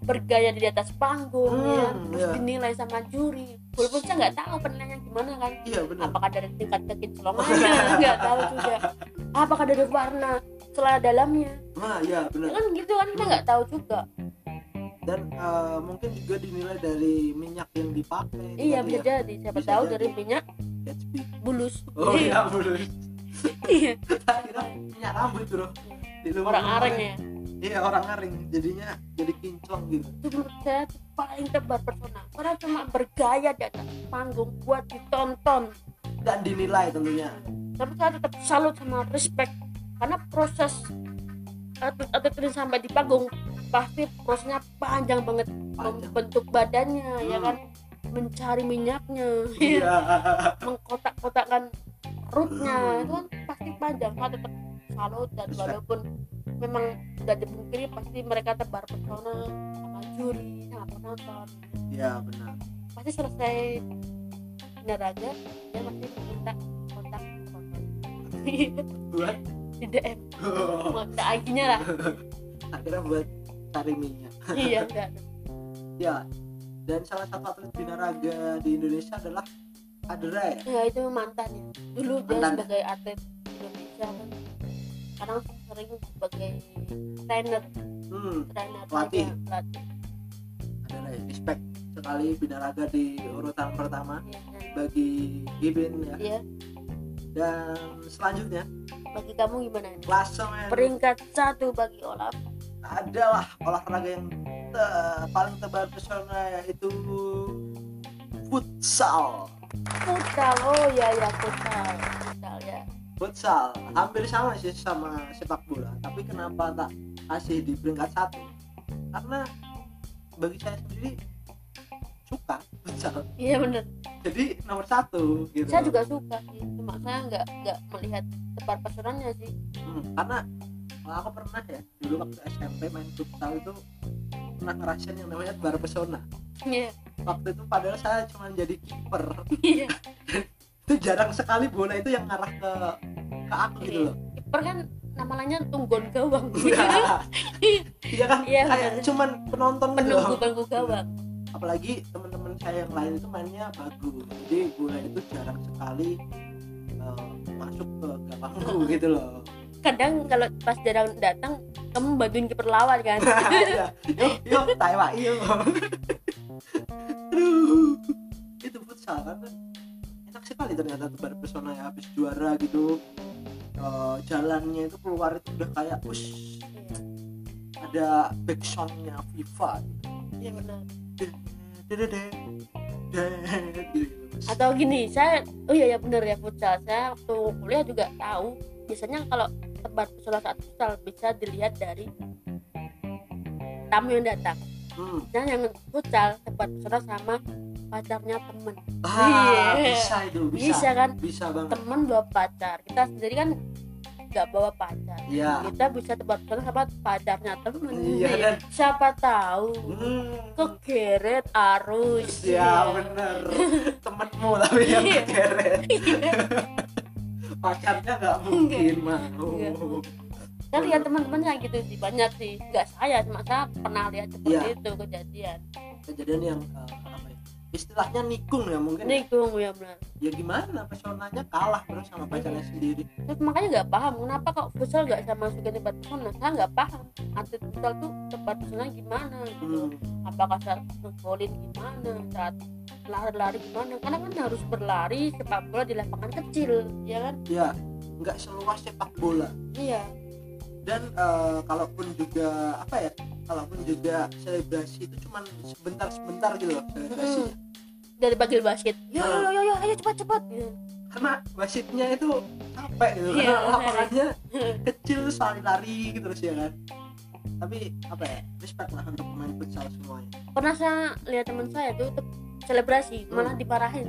bergaya di atas panggung ya
Hmm,
terus
iya.
dinilai sama juri walaupun saya nggak tahu penilaiannya gimana kan
iya benar.
apakah dari tingkat
*laughs*
kekinclongannya nggak tahu juga apakah dari warna celana dalamnya
Nah, iya benar.
kan gitu kan kita nggak tahu juga
Dan eh, mungkin juga dinilai dari minyak yang dipakai.
iya
Tadi
bisa
ya,
jadi siapa
Bisa
tahu
jadi.
dari minyak
Gatsby.
bulus
Oh iya, benar.
*laughs* Iya.
*laughs* Akhirnya minyak rambut bro. Di luar
orang
rumah.
areng ya
Iya orang aring. Jadinya jadi kinclong gitu.
itu menurut saya tuh paling tebar pesona orang cuma bergaya di atas panggung buat ditonton
Dan dinilai tentunya.
tapi saya tetap salut sama respect karena proses atlet-atlet ini sampai di panggung pasti prosesnya panjang banget
Panjang.
membentuk badannya ya
Hmm.
kan mencari minyaknya *laughs*
Iya. *laughs*
mengkotak-kotakkan
Hmm.
perutnya itu kan pasti panjang kan tetap salut dan
Respect.
walaupun memang tidak dipungkiri pasti mereka tebar pesona sama juri sama penonton
Iya benar.
pasti selesai olahraga dia pasti minta kontak penonton *laughs*
Buat *laughs*
di DM
Oh.
kontak IG-nya lah
akhirnya buat cari minyak.
iya enggak
Ya. Dan salah satu atlet binaraga di Indonesia adalah Adra ya.
ya itu mantannya dulu dia
Mantan.
sebagai atlet Indonesia kan sekarang sering sebagai trainer
Hmm.
trainer
Pelatih.
aja, pelatih Iya,
Adra ya. Respect sekali binaraga di urutan pertama
ya, dan
bagi Gibin ya.
dia
Dan selanjutnya
Iya. bagi kamu gimana nih?
klasemen
Peringkat satu bagi Olaf
adalah olahraga yang te- paling tebar pesona yaitu futsal.
futsal. Oh ya ya futsal, futsal ya.
Futsal hampir sama sih sama sepak bola, tapi kenapa tak kasih di peringkat satu? Karena bagi saya sendiri suka futsal,
Iya bener.
jadi nomor satu gitu.
Saya juga suka sih, cuma saya nggak nggak melihat tebar pesonanya sih.
Hmm, karena kalau aku pernah ya dulu waktu SMP main futsal itu pernah ngerasain yang namanya tebar pesona.
Iya.
Waktu itu padahal saya cuma jadi kiper.
Iya.
*laughs* itu jarang sekali bola itu yang ngarah ke ke aku gitu
*laughs*
loh
Kiper kan namanya tunggon
*laughs*
gawang. *laughs*
iya kan
Iya,
kayak
bener.
cuman penonton gitu
Penunggu
loh.
penunggu gawang.
apalagi teman-teman saya yang lain itu mainnya bagus jadi bola itu jarang sekali eh, masuk ke gawangku gitu loh
Kadang kalau pas jarang datang kamu bantuin kiper lawan kan.
Iya. yuk yuk Taiwan yuk aduh itu futsal kan enak sekali ternyata tebar pesona ya habis juara gitu Eh, jalannya itu keluar itu udah kayak ush ada back soundnya FIFA
Iya bener.
Dededeng, deng, gitu.
iya Atau gini, saya oh iya ya bener ya futsal. Saya waktu kuliah juga tahu biasanya kalau tempat pesulap saat futsal bisa dilihat dari tamu yang datang
Hmm.
dan yang futsal tempat pesulap sama pacarnya temen
Ah,
Iya.
bisa itu, bisa.
bisa kan
Bisa banget.
temen bawa pacar kita sendiri kan nggak bawa pacar
Iya.
kita bisa tempat pesulap sama pacarnya temen
Iya kan?
siapa tahu
Hmm.
kegeret arus
Ya bener Temenmu tapi yang
Iya.
kegeret Pacarnya nggak mungkin mau
Nggak. saya lihat teman-teman saya gitu sih banyak sih nggak saya cuma saya pernah lihat seperti
Iya.
itu kejadian
Kejadian yang eh, apa ya Istilahnya nikung ya mungkin
ini gue ya benar
Ya gimana pesonanya kalah terus sama pacarnya sendiri
terus makanya nggak paham kenapa kok futsal nggak saya masukin tempat pesona saya nggak paham atlet futsal tuh tempat pesona gimana gitu
Hmm.
apakah saat ngegolin gimana saat lari-lari gimana karena kan harus berlari sepak bola di lapangan kecil ya kan
Ya nggak seluas sepak bola
iya
dan eh, kalaupun juga apa ya kalaupun juga selebrasi itu cuman sebentar sebentar gitu loh selebrasinya
dari bagil basket yo
Hmm.
yo yo, yo ayo cepat cepat Gitu.
karena wasitnya itu capek gitu
Iya,
karena lapangannya
*laughs*
kecil sekali lari gitu terus ya kan tapi apa ya respect lah untuk pemain futsal semuanya
pernah saya lihat teman saya tuh te- selebrasi
Hmm.
malah diparahin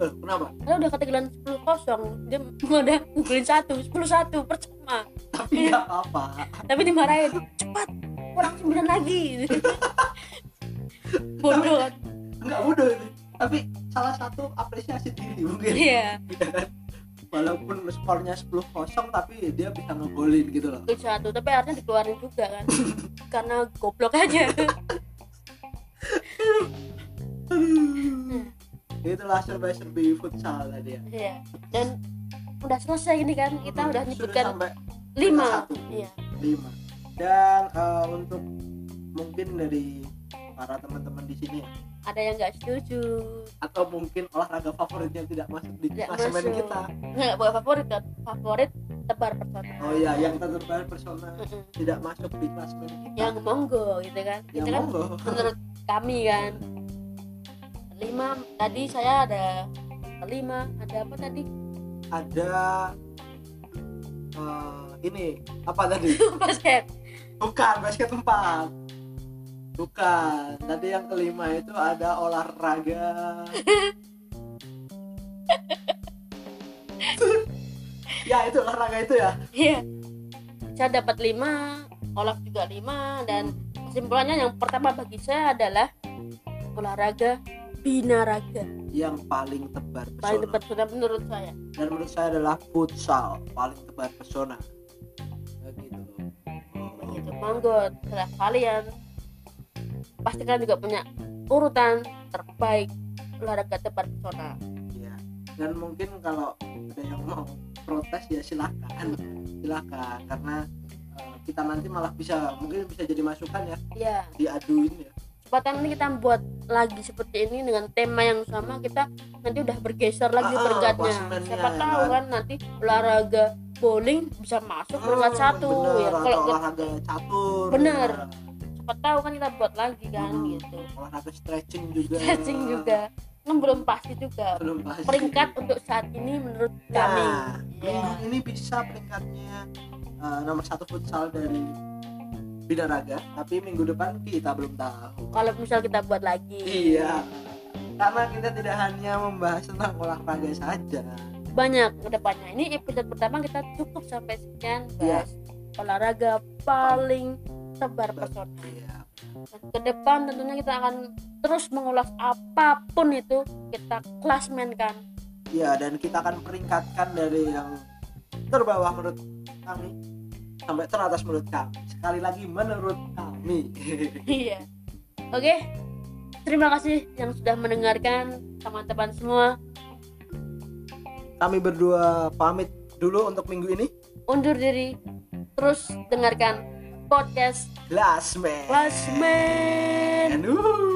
eh, kenapa
Karena udah ketinggalan 10 kosong, dia udah ngegulin satu, 10 satu, percuma.
tapi
Iya.
nggak apa-apa
Tapi dimarahin, cepat, kurang 9
*laughs*
lagi. Bodoh,
nggak mudah itu tapi salah satu apresiasi diri mungkin
iya.
walaupun skornya 10-0 tapi dia bisa ngegolin gitu loh
Ngegulin satu, tapi akhirnya dikeluarin juga
*laughs*
kan. Karena goblok aja.
Aduh.
Hmm.
itulah serba-serbi futsal tadi ya
Iya. Dan udah selesai ini kan, kita udah
Sudah
nyebutkan
sampai
5.
satu.
Iya.
5 dan eh, untuk mungkin dari para teman-teman di sini
Ada yang nggak setuju.
atau mungkin olahraga favoritnya tidak masuk di
Tidak
klasemen
masuk.
kita
Nggak buat favorit kan? Favorit tebar persona.
oh iya yang terbaik personal
Mm-mm.
tidak masuk di klasemen kita
Yang monggo gitu kan.
yang
Itu kan
monggo
menurut kami kan lima tadi saya ada lima ada apa tadi *laughs*
ada eh, ini apa
*laughs*
tadi
basket
bukan basket empat bukan tadi yang kelima itu ada
*laughs*
olahraga ya itu olahraga itu ya
iya saya dapat lima olaf juga lima dan kesimpulannya yang pertama bagi saya adalah olahraga binaraga
yang paling tebar pesona
paling tepat sudah menurut saya
dan menurut saya adalah futsal paling tebar pesona begitu
begitu monggo setelah kalian pasti kalian juga punya urutan terbaik olahraga tepat pesona
ya dan mungkin kalau ada yang mau protes ya silakan silakan karena eh, kita nanti malah bisa mungkin bisa jadi masukan ya
ya
diaduin ya
kesempatan ini kita buat lagi seperti ini dengan tema yang sama kita nanti udah bergeser lagi
Ah,
berkatnya
klasemennya,
siapa
ya
tahu
kan?
kan nanti olahraga bowling bisa masuk peringkat
Hmm,
satu
bener,
ya
atau
kalau nggak-
olahraga catur
Bener.
ya.
siapa tahu kan kita buat lagi kan
Hmm.
gitu
olahraga stretching juga
stretching juga kan belum pasti juga
belum pasti.
peringkat untuk saat ini menurut
Nah,
kami ya
minggu ini bisa peringkatnya eh, nomor satu futsal dari Bidaraga tapi minggu depan kita belum tahu
kalau misal kita buat lagi
iya karena kita tidak hanya membahas tentang olahraga saja
banyak kedepannya ini episode pertama kita cukup sampai sekian
Iya.
bahas olahraga paling tebar pesona
iya
Dan ke depan tentunya kita akan terus mengulas apapun itu kita klasmen kan *laughs*
Iya, dan kita akan peringkatkan dari yang terbawah menurut kami sampai teratas menurut kami. Sekali lagi menurut kami. *laughs*
iya oke terima kasih yang sudah mendengarkan teman-teman semua
kami berdua pamit dulu untuk minggu ini.
undur diri terus dengarkan podcast
Last man.
klasmen
Wuh.